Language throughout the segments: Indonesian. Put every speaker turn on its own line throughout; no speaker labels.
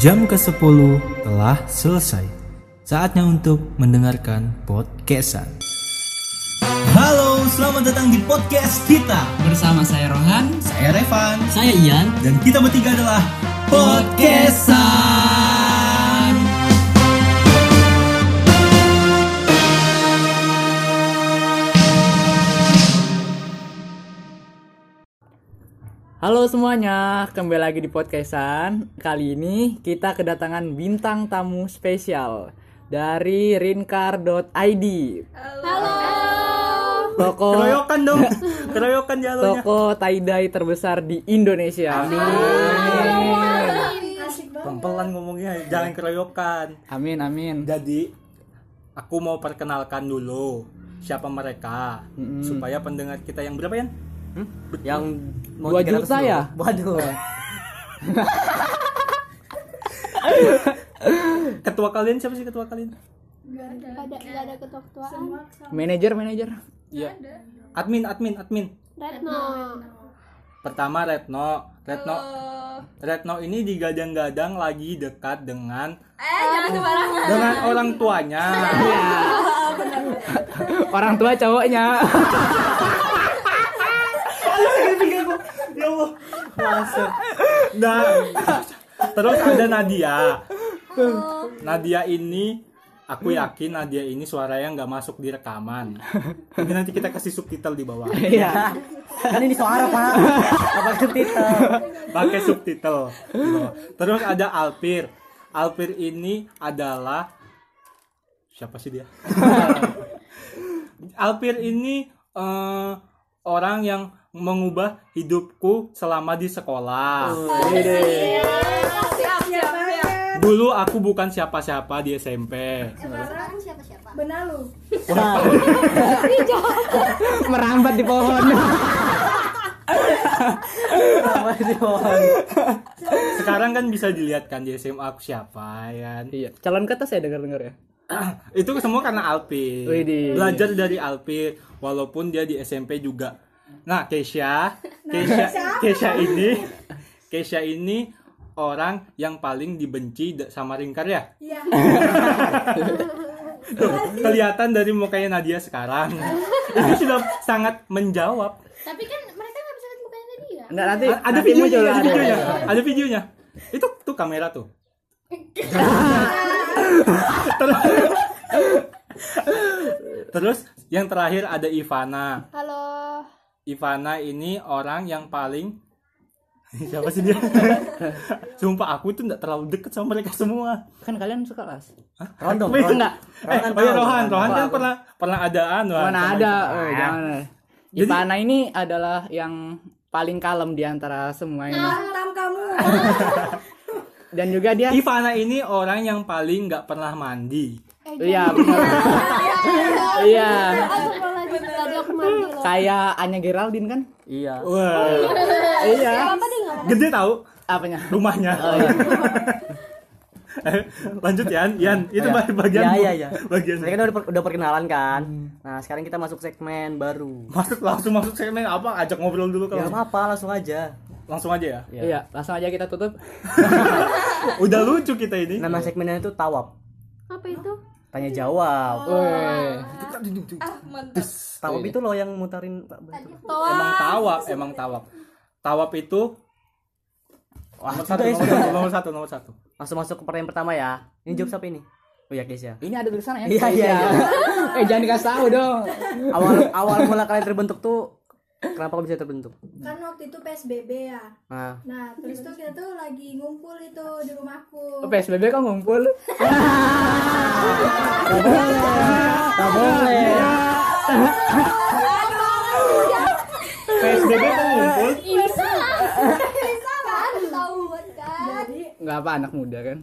Jam ke-10 telah selesai. Saatnya untuk mendengarkan podcastan. Halo, selamat datang di podcast kita.
Bersama saya Rohan,
Saya Revan
saya Ian,
dan kita bertiga adalah
podcastan. Halo semuanya, kembali lagi di podcastan. Kali ini kita kedatangan bintang tamu spesial dari rinkar.id. Halo. Toko
Keroyokan dong. Keroyokan jalannya.
toko tie-dye terbesar di Indonesia. Amin.
Pelan-pelan ngomongnya, jangan keroyokan.
Amin, amin.
Jadi aku mau perkenalkan dulu siapa mereka supaya pendengar kita yang berapa ya?
Hmm? yang mau
2 juta
300 dulu.
ya?
Waduh. ketua kalian siapa sih ketua kalian?
ada nggak ada ketua-ketuaan
Manajer, manajer.
Admin, admin, admin.
Retno
Pertama Retno. Retno. Retno ini digadang-gadang lagi dekat dengan dengan orang tuanya.
Orang tua cowoknya.
ya Allah. Masa. Nah, terus ada Nadia. Nadia ini aku yakin Nadia ini suaranya nggak masuk di rekaman. Jadi nanti kita kasih subtitle di bawah.
Iya.
kan ini suara pak apa subtitle
pakai subtitle. Gitu. Terus ada Alpir. Alpir ini adalah siapa sih dia? Alpir ini eh, orang yang mengubah hidupku selama di sekolah. Dulu aku bukan siapa-siapa di SMP.
sekarang siapa-siapa
Merambat di pohon.
Apa sih, Mon?
Sekarang kan bisa dilihat kan di SMA aku siapa ya.
iya. Calon kata saya dengar-dengar ya.
itu semua karena Alpi
Widih.
belajar dari Alpi walaupun dia di SMP juga nah Keisha Keisha Keisha ini Keisha ini orang yang paling dibenci da- sama Ringkar ya Tuh, kelihatan dari mukanya Nadia sekarang itu sudah sangat menjawab
tapi kan mereka nggak bisa lihat mukanya dia
Nggak, nanti
A- ada
nanti
videonya
muncul,
ada
ada.
videonya ada videonya itu tuh kamera tuh terus, terus yang terakhir ada Ivana
halo
Ivana ini orang yang paling siapa sih dia sumpah aku tuh nggak terlalu deket sama mereka semua
Kan kalian sekelas.
rondong
Wih,
rondong.
enggak.
eh, oh ya
Rohan tahu,
Rohan
Rohan
Rohan kan
tahu aku.
pernah pernah ada anu
Mana
sama
ada?
Ivana.
Oh, jangan.
Jadi-
Ipana ini adalah yang paling kalem di antara semua ini. Dan juga dia
Ivana ini orang yang paling nggak pernah mandi
Iya, benar. Iya.
aku mau lagi tadi aku mandi loh
Kayak Anya Geraldine kan?
iya
wah
Iya.
apa dia nggak
gede tahu
Apanya?
rumahnya.
Oh, iya.
Eh, Lanjut Yan, Yan itu bagian bagian
iya iya iya
bagian
Tadi kan udah, per- udah perkenalan kan nah sekarang kita masuk segmen baru
masuk langsung masuk segmen apa ajak ngobrol dulu
ya
kalau
apa langsung aja
langsung aja ya.
Iya.
Iya, langsung aja kita tutup.
Udah lucu kita ini.
nama segmennya itu tawab
apa itu
tanya jawab
Iya. Woi.
tawab itu loh yang mutarin pak Bentuk.
Emang tawab, emang tawab. Tawab itu
wah
nomor satu,
sudah
nomor
ya, sudah.
satu, nomor satu, nomor satu.
langsung masuk ke pertanyaan pertama ya ini jawab siapa ini oh ya guys ya
Ini ada tulisannya
Iya, iya, iya.
eh jangan dikasih tahu dong.
awal awal mula kalian terbentuk tuh kenapa kok bisa terbentuk
kan waktu itu PSBB ya
nah
nah terus tuh kita tuh lagi ngumpul itu di rumahku
PSBB kok ngumpul?
nggak boleh
PSBB tuh ngumpul.
ini salah ini salah tahu kan
jadi
Enggak apa anak muda kan.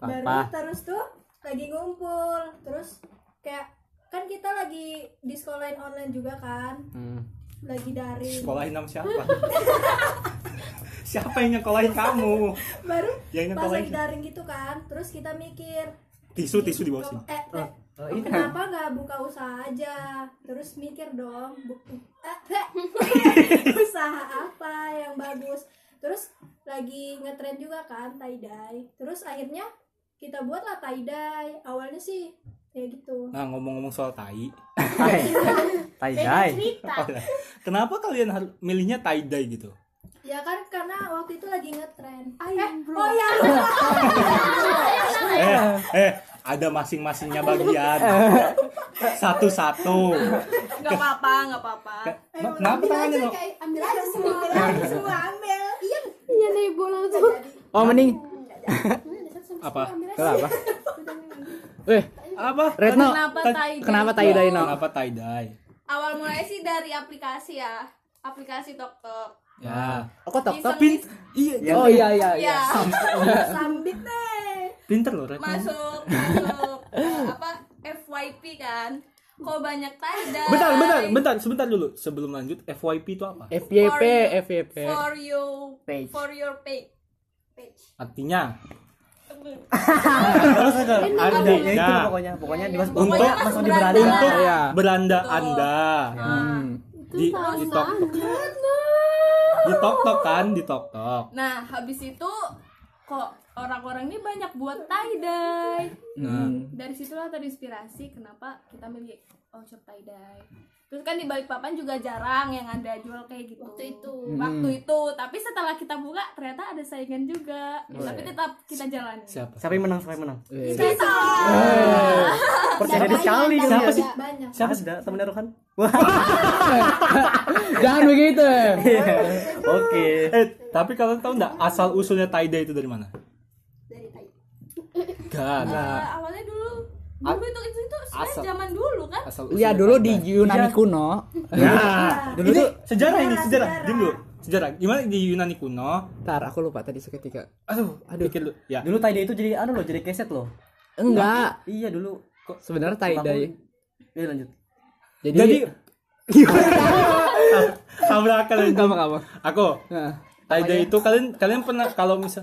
baru terus tuh lagi ngumpul terus kayak kan kita lagi di sekolahin online juga kan
Hmm.
lagi daring
Sekolahin sama siapa? siapa yang nyekolahin kamu?
baru
Yang ini
pas
sekolahin
lagi daring gitu kan terus kita mikir
Tisu, tisu di bawah sini.
eh, eh, kenapa nggak buka usaha aja terus mikir dong bu- eh, eh, usaha apa yang bagus terus lagi ngetrend juga kan tie dye terus akhirnya kita buatlah tie dye awalnya sih kayak gitu
Nah ngomong-ngomong soal tai,
Tai. Tai
Beda
dai.
cerita.
kenapa kalian harus milihnya tie dye gitu?
ya kan karena waktu itu lagi ngetrend
Ayam,
eh,
bro.
oh ya
Eh, eh ada masing-masingnya bagian satu-satu.
Gak apa-apa, gak apa-apa.
Nah, Kenapa tangannya
aja
no?
kayak ambil aja semua.
Eh, semua semua ambil iya
Iya nego langsung.
Oh mending
Apa?
apa? Eh,
Apa?
Retno,
Kenapa
Kan-
tai?
kenapa tai dye no?
Kenapa tie dye?
Awal mulai sih dari aplikasi ya. Aplikasi TokTok.
Ya,
Aku tok tok.
Iseng-
iya,
Oh iya iya iya.
Ya,
sambit deh
pinter loh Retno.
masuk masuk eh, apa FYP kan. Kok banyak tai dye?
Bentar, bentar, bentar, sebentar dulu. Sebelum lanjut, FYP itu apa?
FYP
For-
FYP.
For you
Page.
for your page. Page.
Artinya,
Ada ya itu
artinya
pokoknya. Pokoknya dimasuk
Untuk-
pokoknya masuk di
beranda.
beranda.
untuk
Iya.
beranda
Betul.
Anda
Hmm.
di di TokTok. Di TokTok kan, di TokTok.
Nah, habis itu kok orang-orang ini banyak buat tie dye.
Hmm.
Nah,
Dari situlah terinspirasi kenapa kita milih oh shop tie dye. Terus kan di Balikpapan juga jarang yang ada jual kayak gitu.
Waktu itu.
Waktu
Hmm.
itu, tapi setelah kita buka ternyata ada saingan juga.
Oh, iya.
Tapi tetap kita jalani.
siapa?
Siapa yang menang? Siapa yang menang?
Eh,
Percaya diri
Banyak,
sekali kali ya.
banyak,
banyak
Siapa sih? Ada temennya Ruhan?
Jangan begitu.
Oke.
Eh, tapi kalian tahu nggak asal usulnya tie dye itu dari mana?
Dari tadi.
Gak
Eh,
ada.
awalnya dulu
Ah,
dulu itu itu, itu sebenarnya
Asal.
zaman dulu kan.
Asal
Iya
usulnya
dulu
tie
di
dye.
Yunani kuno.
Nah,
Dulu
ini
tuh-
sejarah ini sejarah. Diam dulu. Sejarah. Gimana di Yunani kuno?
Ntar aku lupa tadi seketika.
Aduh, aduh. Pikir lu. Ya.
Dulu tadi itu jadi anu loh, jadi keset loh.
Enggak.
Iya dulu. Kok
Sebenarnya tie dye.
Iya lanjut.
Jadi,
Jadi tabrakan
kamu kamu.
Aku
Nah,
tie dye itu kalian kalian pernah kalau misal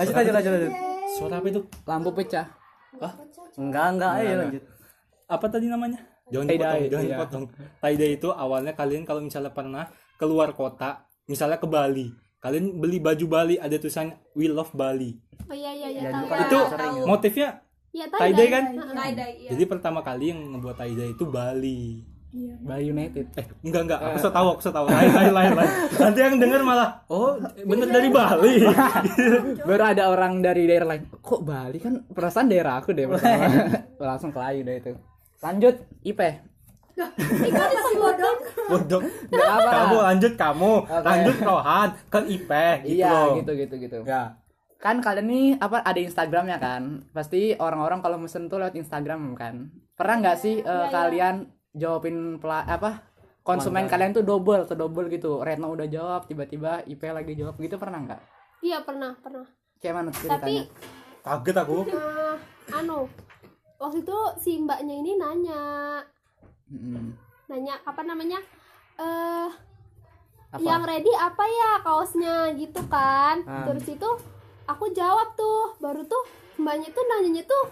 Lanjut lanjut lanjut lanjut.
suara apa itu?
lampu pecah.
Enggak enggak, ayo
Enggak,
lanjut.
apa tadi namanya? Jangan
Tie-dye,
dipotong, jangan
iya.
dipotong. Tie dye itu awalnya kalian kalau misalnya pernah keluar kota, misalnya ke Bali, kalian beli baju Bali ada tulisannya We Love Bali.
Oh iya iya iya.
Ya,
tahu.
dulu kan
Itu
sering ya.
motifnya
Iya
tie dye kan?
Tie dye iya.
Jadi pertama kali yang ngebuat tie dye itu Bali.
Bali United.
Eh, enggak enggak, aku so tahu, aku so tahu. Lain lain lain. lain. Nanti yang denger malah, oh, bener dari Bali.
Baru ada orang dari daerah lain. Kok Bali kan perasaan daerah aku deh. pertama. Langsung kelayu deh itu. Lanjut Ipe.
ikan masih bodong
Bodoh.
Enggak apa.
Kamu lanjut kamu,
Oke.
lanjut Rohan ke Ipe gitu
Iya
loh.
gitu gitu gitu.
Ya.
Kan kalian nih apa ada Instagramnya kan? Pasti orang-orang kalau mesen tuh lewat Instagram kan. Pernah nggak sih eh, kalian jawabin pela- apa konsumen kalian tuh double atau double gitu? Retno udah jawab, tiba-tiba Ipe lagi jawab gitu pernah nggak?
Iya pernah pernah.
Kayak mana tuh
Tapi
ceritanya?
Kaget aku.
eh, anu waktu itu si mbaknya ini nanya
Mm-mm.
nanya apa namanya eh
Apa?
yang ready apa ya kaosnya gitu kan
Ah.
terus itu aku jawab tuh baru tuh mbaknya tuh nanyanya tuh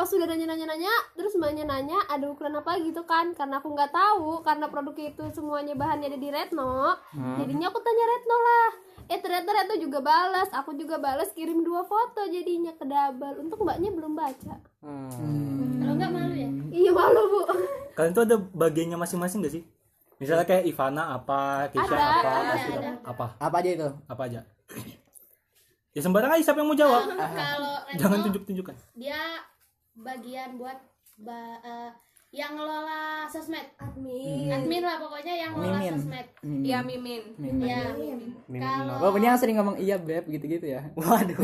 pas udah nanya nanya nanya terus mbaknya nanya ada ukuran apa gitu kan karena aku nggak tahu karena produk itu semuanya bahannya ada di Retno
Ah.
jadinya aku tanya Retno lah eh ternyata Retno juga balas aku juga balas kirim dua foto jadinya ke double untuk mbaknya belum baca
Hmm.
kalau nggak malu ya
iya malu bu
Kalian tuh ada bagiannya masing-masing gak sih? Misalnya kayak Ivana apa, Tisha
Ada,
apa,
ada,
Asura
ada.
apa,
Apa aja itu?
apa aja. Ya sembarang aja siapa yang mau jawab.
kalau
Jangan
Retno
tunjuk-tunjukkan.
dia bagian buat ba- eh, yang ngelola sosmed
admin
admin lah pokoknya yang ngelola
Mimin.
sosmed
Mimin.
Iya, Mimin.
ya
Mimin
Oh,
kalau
ini yang sering ngomong iya beb gitu-gitu ya.
Waduh.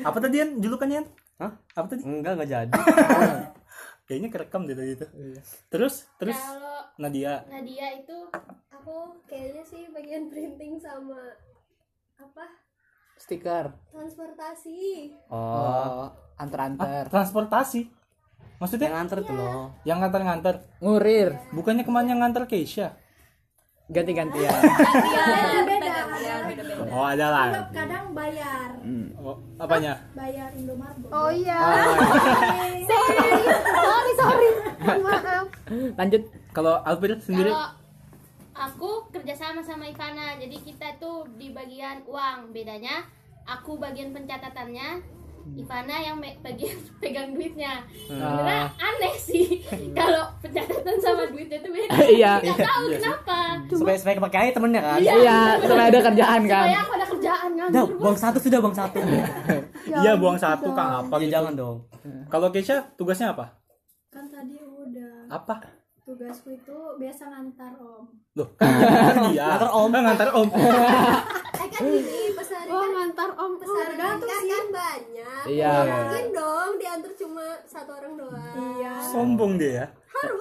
Apa tadi Yan? Julukannya Yan?
Hah?
Apa tadi?
Enggak enggak jadi.
Kayaknya kerekam deh tadi itu. Terus, terus
kalau
Nadia.
Nadia itu
aku kayaknya sih bagian printing sama apa
Stiker.
transportasi
Oh.
Oh, antar-antar.
Ah, Transportasi.
Yang
Maksudnya
nganter tuh loh.
yang ngantar-ngantar.
Ngurir,
Bukannya kemana yang ngantar Keisha?
ganti-gantian.
beda beda
Oh, ada lah.
kadang bayar
Oh, apanya?
bayar Indomaret
oh iya sorry sorry sorry maaf
Lanjut
Kalau Alfred sendiri
kalau aku kerjasama sama Ivana jadi kita tuh di bagian uang bedanya aku bagian pencatatannya Ivana yang me- bagian pegang duitnya sebenarnya aneh sih kalau pencatatan sama duitnya itu beda
Iya.
nggak tahu kenapa
supaya supaya kepake aja temennya kan
Iya, supaya ada kerjaan kan.
supaya aku ada kerjaan
Dah,
nganggur
bang satu sudah bang satu
Iya buang satu kang apa
ya,
gitu.
jangan dong
Kalau Keisha tugasnya apa?
kan tadi udah
Apa?
tugasku itu biasa ngantar om
Loh, kan ngantar dia.
Ngantar om.
Kan ngantar om.
eh kan gini pesari
Wah,
kan
ngantar om
pesari kan kan banyak
Iya.
mungkin dong diantar cuma satu orang doang iya
Sombong dia ya.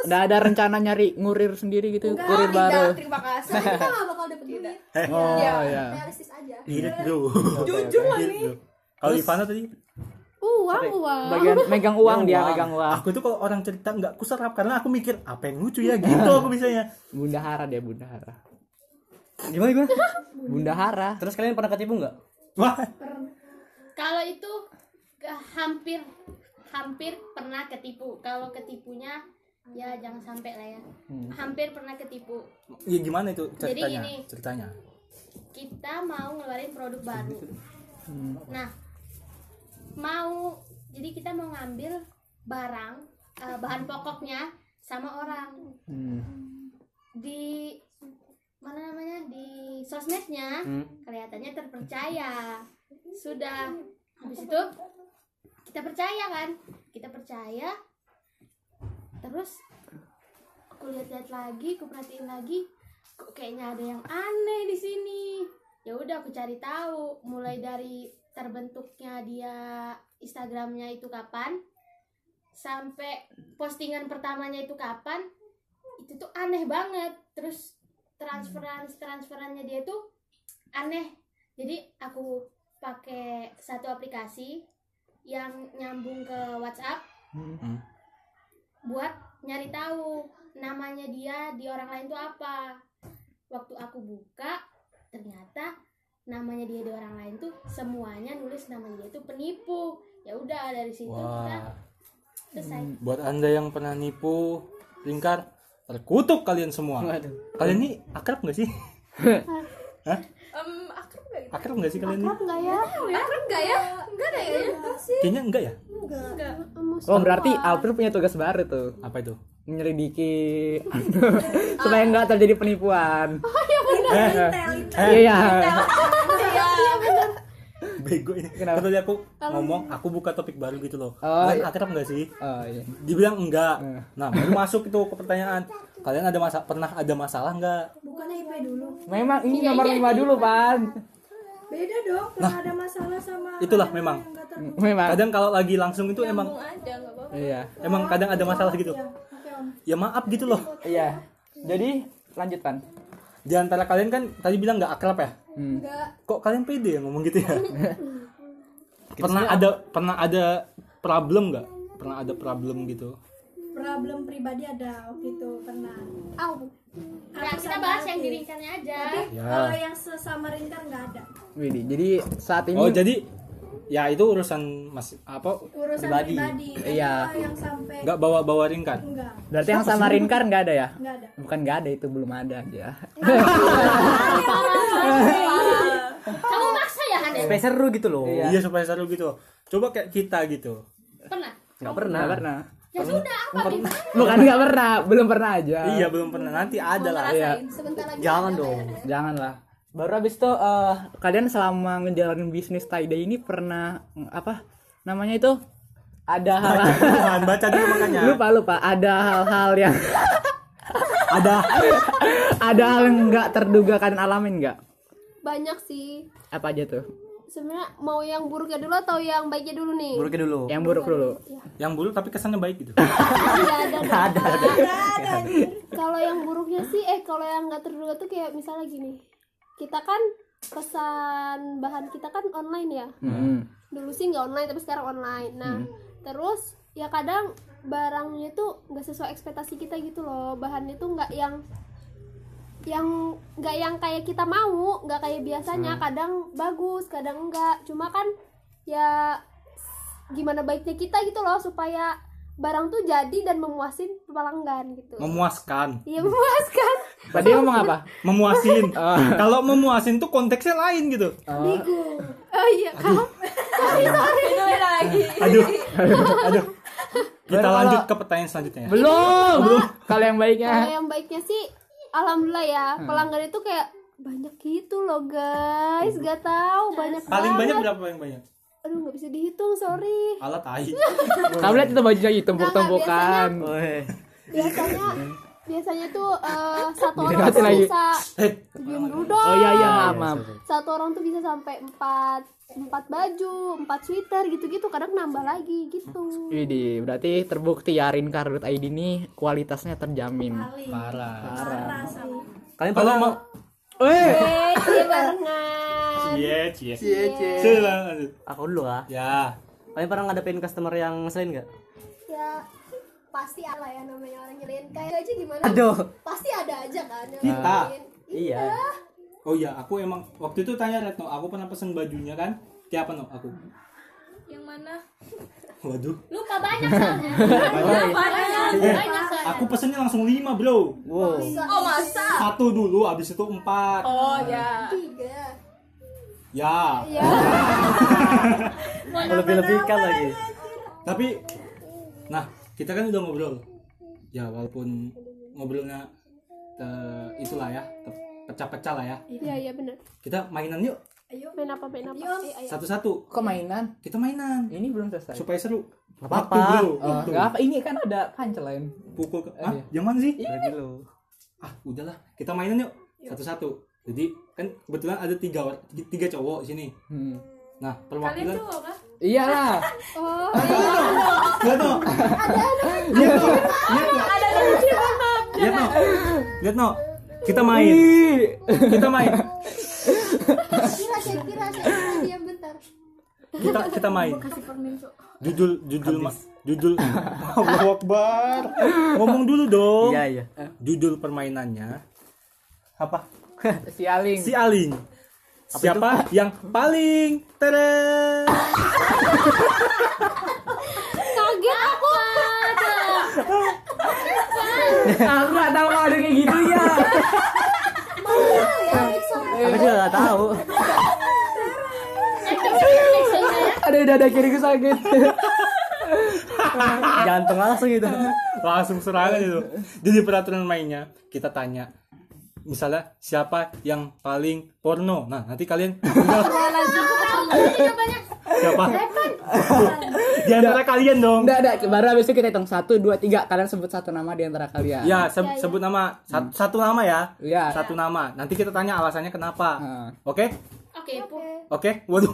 Udah ada rencana nyari ngurir sendiri gitu, kurir baru.
terima kasih kita nggak bakal dapet duit
Oh iya.
realistis aja
Irit bro.
jujur loh
Irit
ini
bro. Kalau Ivana tadi
uang uang
Bagian megang uang dia
uang.
megang uang.
Aku tuh kalau orang cerita nggak kuserap karena aku mikir apa yang lucu ya gitu aku bisanya.
Bunda Hara dia Bunda Hara.
gimana gimana
Bunda Hara.
terus kalian pernah ketipu nggak
Wah,
kalau itu eh, hampir hampir pernah ketipu kalau ketipunya ya jangan sampai lah ya hampir pernah ketipu
ya gimana itu
Jadi
ceritanya?
gini.
Ceritanya.
kita mau ngeluarin produk baru. Nah, mau jadi kita mau ngambil barang eh, bahan pokoknya sama orang di mana namanya di sosmednya kelihatannya terpercaya sudah habis itu kita percaya kan kita percaya terus aku lihat-lihat lagi aku perhatiin lagi kok kayaknya ada yang aneh di sini ya udah aku cari tahu mulai dari terbentuknya dia Instagramnya itu kapan sampai postingan pertamanya itu kapan itu tuh aneh banget terus transferan transferannya dia tuh aneh jadi aku pakai satu aplikasi yang nyambung ke WhatsApp
Hmm.
buat nyari tahu namanya dia di orang lain tuh apa waktu aku buka ternyata namanya dia di orang lain tuh semuanya nulis namanya dia tuh penipu ya udah dari situ kita
Wah.
selesai
Buat Anda yang pernah nipu lingkar terkutuk kalian semua. Kalian ini akrab nggak sih?
Em, akrab nggak gitu?
Akrab nggak sih kalian ini?
enggak ya
Akrab nggak ya? Enggak ada ya?
Kayaknya enggak ya?
Oh berarti April punya tugas baru tuh
Apa itu?
menyelidiki supaya nggak terjadi penipuan.
ya.
Eh,
Iya iya.
bego ini.
Kenapa?
Kan Tadi aku ngomong, aku buka topik baru gitu loh.
Oh, Eh.
Kalian akrab nggak sih?
Oh iya.
Dibilang enggak. Nah, baru masuk itu ke pertanyaan. Kalian ada masa pernah ada masalah nggak?
bukannya IP dulu
Memang ini nomor lima dulu, Pan.
beda dong pernah ada masalah sama
Itulah
orang
memang.
yang nggak terbuka.
Memang.
Kadang kalau lagi langsung itu emang
Nyambung aja nggak apa-apa.
Iya.
emang kadang ada masalah gitu.
Iya, oke om
Ya maaf gitu loh.
Iya. Jadi lanjut, Pan.
Di antara kalian kan tadi bilang nggak akrab ya?
enggak
Kok kalian pede ya ngomong gitu ya? pernah ada pernah ada problem nggak? Pernah ada problem gitu?
problem pribadi ada waktu itu pernah
nah, kita bahas yang di ringkannya aja
Ya.
kalau yang sesama ringkar nggak ada
Widih, jadi saat ini
Oh jadi ya itu urusan mas apa
urusan
Pribadi.
pribadi,
Iya.
Kalau yang sampai
nggak bawa bawa ringkan?
enggak
berarti yang sama Rinkar nggak ada ya?
enggak ada
Bukan nggak ada itu belum ada aja.
kamu maksa ya Han ya?
supaya seru gitu loh
Iya.
Iya supaya seru gitu. Coba kayak kita gitu.
pernah
nggak pernah
Nggak pernah.
ya sudah apa gimana
Bukan nggak pernah, belum pernah aja.
Iya belum pernah nanti ada lah.
sebentar lagi
jangan dong
Janganlah. Baru habis itu eh, kalian selama ngejalanin bisnis tie dye ini pernah mm, apa namanya itu ada hal
Jangan baca dulu makanya.
lupa lupa ada hal-hal yang
Ada
ada hal yang nggak terduga kalian alamin nggak
banyak sih
apa aja tuh
sebenarnya mau yang buruknya dulu atau yang baiknya dulu nih
burukin dulu
yang buruk dulu
yang buruk tapi kesannya baik gitu.
Iya, ada dong. kalau yang buruknya sih eh kalau yang nggak terduga tuh kayak misalnya gini kita kan pesan bahan kita kan online ya
Hmm.
dulu sih nggak online tapi sekarang online nah terus ya kadang barangnya tuh nggak sesuai ekspektasi kita gitu loh bahannya tuh nggak yang yang nggak yang kayak kita mau nggak kayak biasanya kadang bagus kadang enggak cuma kan ya gimana baiknya kita gitu loh supaya barang tuh jadi dan memuasin pelanggan gitu
Memuaskan.
Iya memuaskan
Tadi ngomong apa?
memuasin. Eh, Kalau memuasin tuh konteksnya lain gitu.
Oh iya, kau.
Itu beda lagi.
Aduh, aduh. Kita
Baru kalau-
lanjut ke pertanyaan selanjutnya. ya.
Belum. Kalau yang
Kalau
baiknya.
yang baiknya sih alhamdulillah ya.
Hmm.
Pelanggan itu kayak banyak gitu loh, guys. Gak tahu banyak
Paling
banget.
banyak berapa yang banyak?
Aduh, nggak bisa dihitung, sorry.
Alat tai.
Kamu lihat itu bajunya
Nggak,
tumpuk-tumpukan.
Biasanya biasanya tuh eh, satu orang
Dilihatin
tuh
lagi.
bisa
Eh,
diam dulu dong.
Oh iya iya maaf maaf.
Satu orang tuh bisa sampai empat empat baju, empat sweater gitu-gitu. Kadang nambah lagi gitu.
Widih, berarti terbukti ya Rinkar.id ini kualitasnya terjamin.
parah.
Parah sama.
Kalian
Kalau
pernah
mau
Eh,
Eh, iya barengan.
cie cie.
Cie, cie.
Silakan lanjut.
Aku dulu ah.
Ya.
Kalian pernah ngadepin customer yang ngeselin nggak?
Ya pasti ala ya namanya orang nyelin kayak aja gimana?
Aduh.
Pasti ada aja kan.
Oh,
yang
Kita.
nyelin.
Iya.
Oh iya, aku emang waktu itu tanya Retno, aku pernah pesen bajunya kan? Tiap no aku.
Yang mana?
Waduh.
Lupa banyak soalnya.
Banyak.
banyak soalnya.
Aku pesennya langsung 5, Bro.
Wow.
Oh masa?
Satu dulu, habis itu empat.
Oh ya.
Ya.
Lebih-lebihkan lagi.
Tapi nah, kita kan udah ngobrol. Ya, walaupun ngobrolnya eh, itulah ya, te- pecah-pecah lah ya.
Iya iya benar.
Kita mainan yuk,
Main apa main apa? Eh, ayo.
satu-satu.
kok mainan?
Kita mainan
Ini belum selesai.
supaya seru.
Gak
Waktu,
apa-apa.
Bro.
Oh,
Waktu.
nggak apa, ini kan ada punchline.
Pukul ke
Eh,
Hah?
iya.
Yang mana sih?
Lagi lu.
ah udahlah kita mainan yuk
Iya.
satu-satu jadi kan kebetulan ada tiga or- tiga cowok di sini
Hmm.
nah
Kalian
perwakilan
cowok kan?
Iyalah.
Oh,
lihat no lihat no lihat no
Ada kunci mantap.
lihat no lihat no kita main kita main
kira saya kira saya kira dia bentar.
kita kita main
Kasih permen cok.
judul judul ma- judul Allah Akbar ngomong dulu dong
Iya iya.
judul permainannya apa
Sialing.
si Aling siapa yang paling teren
Kaget aku.
Aku gak tahu kalau ada kayak gitunya.
Aku juga nggak tahu.
ada dada kiriku sakit.
Jantung langsung gitu.
langsung serangan itu jadi peraturan mainnya kita tanya misalnya siapa yang paling porno nah nanti kalian tinggal siapa di antara kalian dong
Enggak ada, baru habis itu kita hitung 1 2 3 kalian sebut satu nama di antara kalian.
ya se- sebut nama satu, satu nama ya
Iya.
satu nama nanti kita tanya alasannya kenapa
Heeh.
oke
Oke, pu.
oke waduh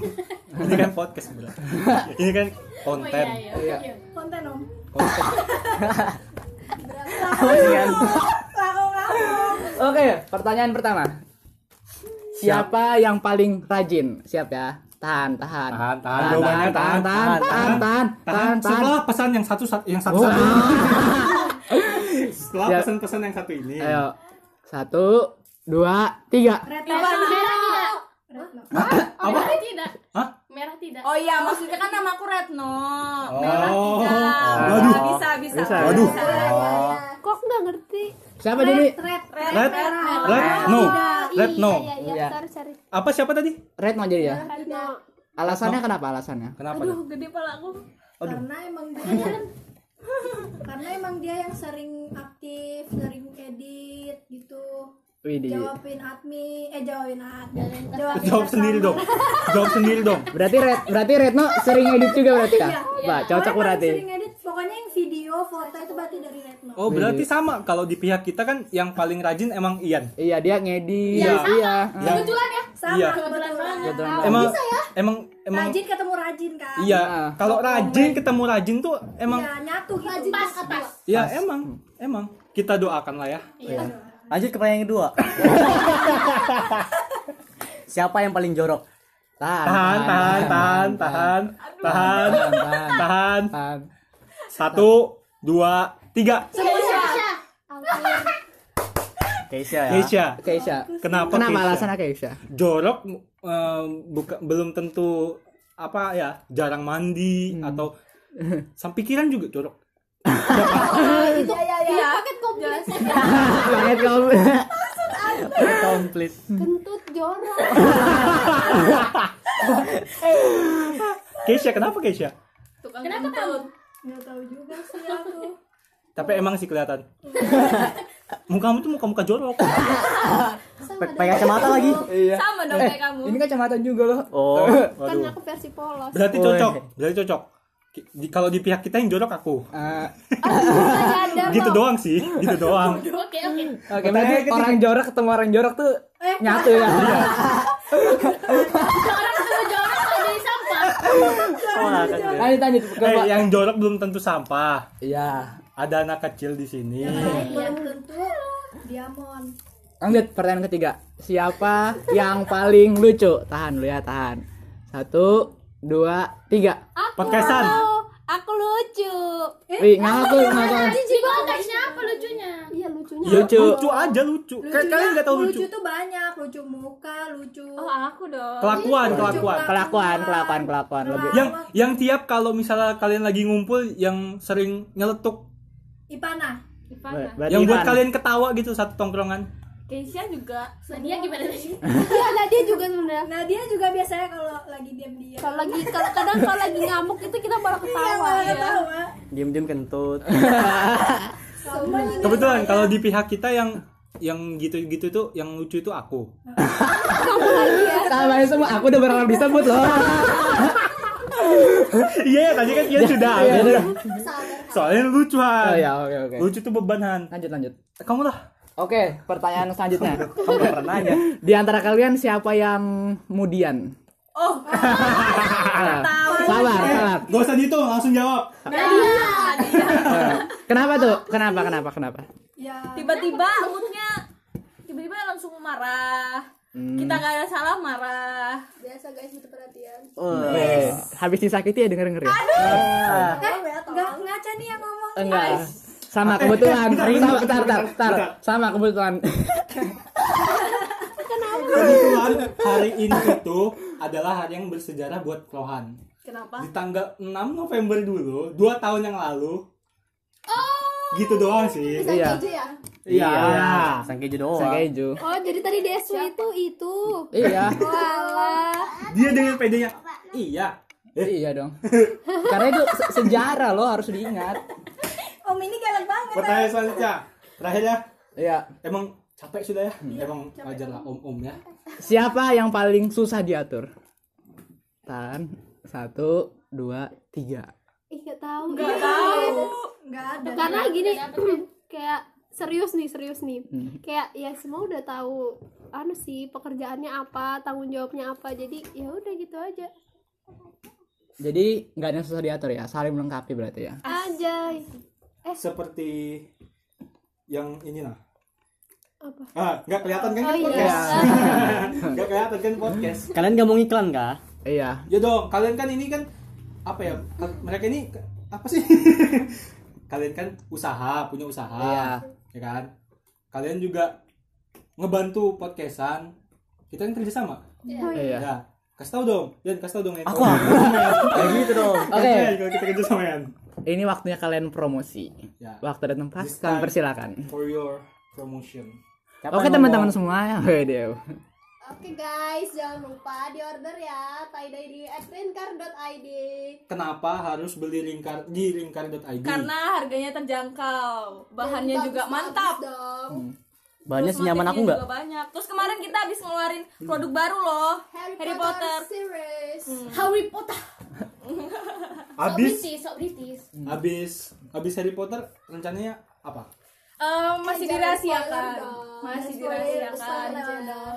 ini kan podcast bro ini kan
Oh,
konten
iya, iya.
Iya.
Iya.
Konten om.
konten
iya. Oke, pertanyaan pertama. Siapa yang paling rajin? Siap ya. Tahan, tahan.
tahan tahan
tahan,
jawabannya
tahan, tahan, tahan, tahan, tahan, tahan.
setelah pesan yang satu yang satu, satu. setelah
Oh. Ya.
pesan-pesan yang satu ini
Ayo. Satu, dua, tiga.
Merah tidak.
apa
Merah tidak.
Hah?
Merah tidak.
Oh iya, maksudnya kan nama aku Retno.
Oh.
Merah tidak.
Waduh.
Bisa, bisa.
Bisa.
Waduh.
Bisa.
Oh,
Kok nggak ngerti?
Siapa jadi?
Red.
Red,
Red,
merah.
red, no, red, no.
Iya iya
Iya.
iya, cari cari.
Apa siapa tadi?
Red mau jadi ya?
No.
Alasannya kenapa alasannya?
Kenapa?
Aduh, gede pala aku.
Karena emang dia yang karena emang dia yang sering aktif, sering edit gitu.
Widih.
Jawabin admin, eh jawabin admin.
Dok?
Jawabin
Jawab sendiri dong. Jawab sendiri dong.
Berarti Red, berarti Retno sering edit juga berarti kak? Wah, cocok
Pokoknya
berarti.
Sering edit, pokoknya yang video, foto itu berarti dari Retno.
Oh berarti sama kalau di pihak kita kan yang paling rajin emang Ian.
Iya dia ngedit,
Iya.
iya.
Yang
Kebetulan ya.
Sama
iya.
kebetulan.
emang emang emang
Rajin ketemu rajin kan.
iya.
Nah.
Kalau rajin ketemu rajin tuh emang
Iya, nyatu gitu.
Pas, pas.
ya emang emang kita doakan lah ya.
Lanjut ke pertanyaan kedua. Siapa yang paling jorok?
Tahan,
Tahan tahan tahan tahan tahan
tahan,
tahan
tahan.
satu dua tiga
Keisha.
Keisha ya.
Keisha
Keisha.
kenapa
Kenapa
Keisha?
alasannya Keisha?
jorok eh, buka, belum tentu apa ya jarang mandi
Hmm.
atau sam pikiran juga jorok
Iya, iya, iya.
Paket komplit.
Banget kamu. komplit.
kentut jorok
Keisha kenapa Keisha
Tukang
Kenapa
kentut.
nggak tahu juga sih aku
tapi emang sih kelihatan mukamu tuh muka muka jorok
Kan
Pe- Pakai kacamata lagi.
Iya.
Sama dong
Eh,
kayak kamu.
Ini kacamata juga loh.
oh
kan
waduh
aku versi polos
berarti
Woi.
cocok berarti cocok Ki- di- kalau di pihak kita yang jorok aku
Ah,
gitu doang sih gitu doang
Oke oke.
Oke, berarti orang jorok ketemu orang jorok tuh
Eh,
nyatu ya.
Orang ketemu jorok kalau jadi sampah.
Wah, kan dia.
Lanjut lanjut ke
eh
Pak.
yang jorok belum tentu sampah
Iya.
ada anak kecil di sini
Iya.
yang kentut diamond
Lanjut Oh, pertanyaan ketiga. Siapa yang paling lucu? Tahan dulu ya, tahan. Satu, dua, tiga.
aku
Podcastan.
aku lucu
Eh,
Wih, ngaku ngaku.
Jijik banget guysnya apa lucunya?
iya lucunya
Ya,
Lucu.
lucu aja lucu, Kayak kalian nggak tahu lucu,
lucu tuh banyak lucu muka lucu
Oh,
ah.
aku dong.
kelakuan
Lucu
kelakuan
Kelakuan, kelakuan, kelakuan. Lebih.
yang yang tiap kalau misalnya kalian lagi ngumpul yang sering nyeletuk
Ipana
Ivana.
Berarti
yang buat
Ivan.
kalian ketawa gitu satu tongkrongan
Keisha juga.
Nadia Nah, gimana sih?
iya Nadia juga sebenarnya
Nah dia juga biasanya kalau lagi diam-diam Iya,
kalau lagi kalau kadang kalau lagi ngamuk itu kita malah ketawa Iya.
Nggak tahu ah.
Diem-diem kentut.
Sama juga.
kebetulan kalau di pihak kita yang yang gitu-gitu tuh yang lucu itu aku
Kalian ya semua aku udah berharap disebut loh.
iya tadi kan iya sudah
Iya,
aku
iya.
udah. soalnya lucu
Oh
Han
ya, oke oke.
lucu tuh beban Han
Lanjut lanjut.
kamu lah
Oke, pertanyaan selanjutnya.
Kamu nggak pernah nanya.
Di antara kalian siapa yang mudian?
Oh,
Sabar, sabar.
gak usah dihitung langsung jawab
Kenapa tuh? Kenapa? Kenapa? Kenapa?
Ya
tiba-tiba moodnya tiba-tiba langsung marah. Kita nggak ada salah marah.
biasa guys butuh perhatian
Eh, habis disakiti ya denger denger ya.
Eh nggak ngaca nih yang ngomong
Enggak. Sama kebetulan.
Eh, bentar, bentar,
Sama
bentar,
tar tar tar.
bentar.
Sama kebetulan.
kebetulan hari ini itu adalah hari yang bersejarah buat Rohan
Kenapa?
di tanggal 6 November dulu dua tahun yang lalu gitu doang sih
bisa
Iya.
keju ya
iya
Sang keju doang.
Sakeju.
oh jadi tadi Desu itu itu
Iya.
walah
dia dengan pedenya iya
Iya dong. Karena itu se- sejarah loh harus diingat.
Om ini galak banget
pertanyaan selanjutnya terakhir ya
Iya.
emang capek sudah ya
Iya,
emang wajar lah om om ya
Siapa yang paling susah diatur? Tahan. Satu, dua, tiga.
ih nggak tahu
Nggak
Ih.
tahu.
Nggak ada
karena gini kayak serius nih serius nih
Hmm.
kayak ya semua udah tahu anu sih pekerjaannya apa tanggung jawabnya apa jadi ya udah gitu aja
Jadi nggak ada yang susah diatur ya, saling melengkapi berarti ya.
anjay Eh.
seperti yang ini lah
Apa?
ah nggak kelihatan kan
oh
di
iya
podcast nggak kelihatan kan di podcast
Kalian gak mau ngiklan kah?
Iya.
ya dong kalian kan ini kan apa ya kal- mereka ini ke- apa sih kalian kan usaha punya usaha
Iya.
ya kan kalian juga ngebantu podcastan kita kan kerja sama
Iya.
ya kasih tau dong Yan kasih tau dong Yan.
Aku aku. Kayak gitu dong.
Oke,
Oke, kalau kita kerja sama Yan.
ini waktunya kalian promosi.
Ya.
Waktu dan tempat
This
kalian
time.
persilakan.
For your promotion.
Siapa
Oke
yang
teman-teman
ngomong?
semua, Wih, Dew.
Oke guys, jangan lupa di order ya tie-dye di atrincar.id
Kenapa harus beli lingkar di lingkar.id?
Karena harganya terjangkau, bahannya juga mantap.
dong.
Banyak
Terus
senyaman aku
motifnya
nggak?
juga Banyak. Terus kemarin kita habis ngeluarin produk baru loh, Harry, Potter. Hmm,
series.
Harry Potter. Sok
Habis
British, sok British.
Hmm. habis habis Harry Potter rencananya apa?
Eh, masih dirahasiakan.
dong.
Masih
Jangan spoiler,
dirahasiakan.
spoiler
ya,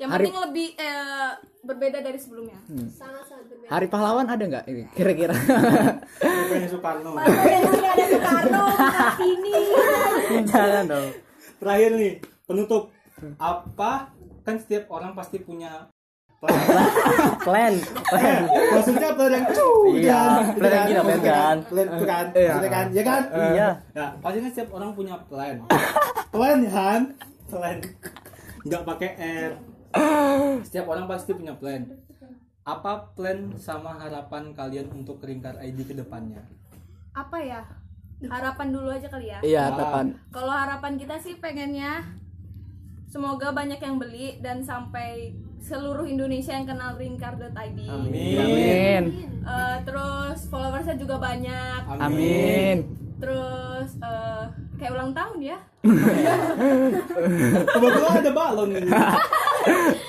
Yang
Harry-
penting lebih eh, berbeda dari sebelumnya.
Nah,
Hmm.
Sangat-sangat berbeda.
Hari pahlawan ada nggak ini? Kira-kira.
Bukannya Soekarno.
Nggak ada Soekarno bukan sini
Jangan dong.
Terakhir nih, penutup. Apa kan setiap orang pasti punya plan.
Plan.
Eh, Maksudnya plan yang cuh,
Iya,
kan?
plan yang
Maksudnya
gila, plan kan?
Plan itu kan.
Iya.
Maksudnya kan, ya kan?
Iya.
Nah, pasti kan setiap orang punya plan. Plan kan? Plan. Enggak pakai R. Setiap orang pasti punya plan. Apa plan sama harapan kalian untuk Ringkar ID ke depannya?
Apa ya? Harapan dulu aja kali ya.
Eh.
Iya,
Wah.
tepan.
Kalau harapan kita sih pengennya Semoga banyak yang beli dan sampai seluruh Indonesia yang kenal Ring Cardo tadi.
Amin.
Eh, terus followersnya juga banyak.
Amin.
Terus eh, kayak ulang tahun ya.
Kebetulan ada balon ini.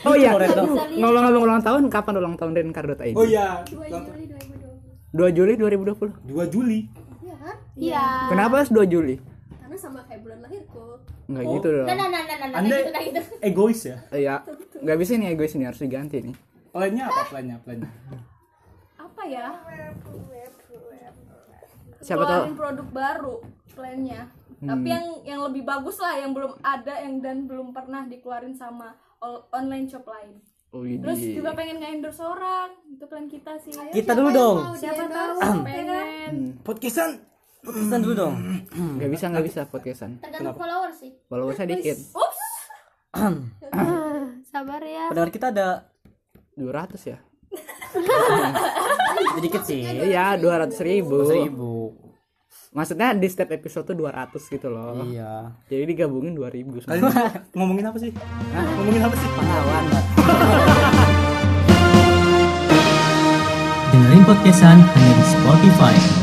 Oh iya.
Bisa lihat.
Ngomong-ngomong ulang tahun, kapan ulang tahun Rin Kardot ini?
Oh iya.
2 Juli 2020
2 Juli 2020.
2 Juli.
Iya kan?
Iya
Kenapa harus 2 Juli?
Karena sama kayak bulan lahirku
Enggak
Oh.
gitu dong.
Nah, nah, nah, nah, nah, nah,
Anda
gitu, nah, gitu.
egois ya.
Iya. Enggak bisa nih egois ini harus diganti nih.
Plannya apa plannya? Plannya.
Apa ya?
Siapa tahu Hmm.
Keluarin produk baru plannya. Tapi yang yang lebih bagus lah yang belum ada yang dan belum pernah dikeluarin sama ol- online shop lain.
Oh,
Terus
Widih.
juga pengen nge-endorse orang. Itu plan kita sih.
Kita dulu dong.
Siapa tahu pengen.
Podcastan
Pesan dulu dong.
Enggak bisa enggak bisa podcastan.
Tergantung follower sih.
Followersnya dikit.
Ups.
Sabar ya
Pendengar kita ada
200 ya?
sedikit sih.
Iya, 200 ribu.
Seribu.
Maksudnya di setiap episode tuh 200 gitu loh.
Iya.
Jadi digabungin 2000
Kalian ngomongin apa sih? Ngomongin apa sih?
Pahlawan. Mbak.
Dengerin podcastan hanya di Spotify.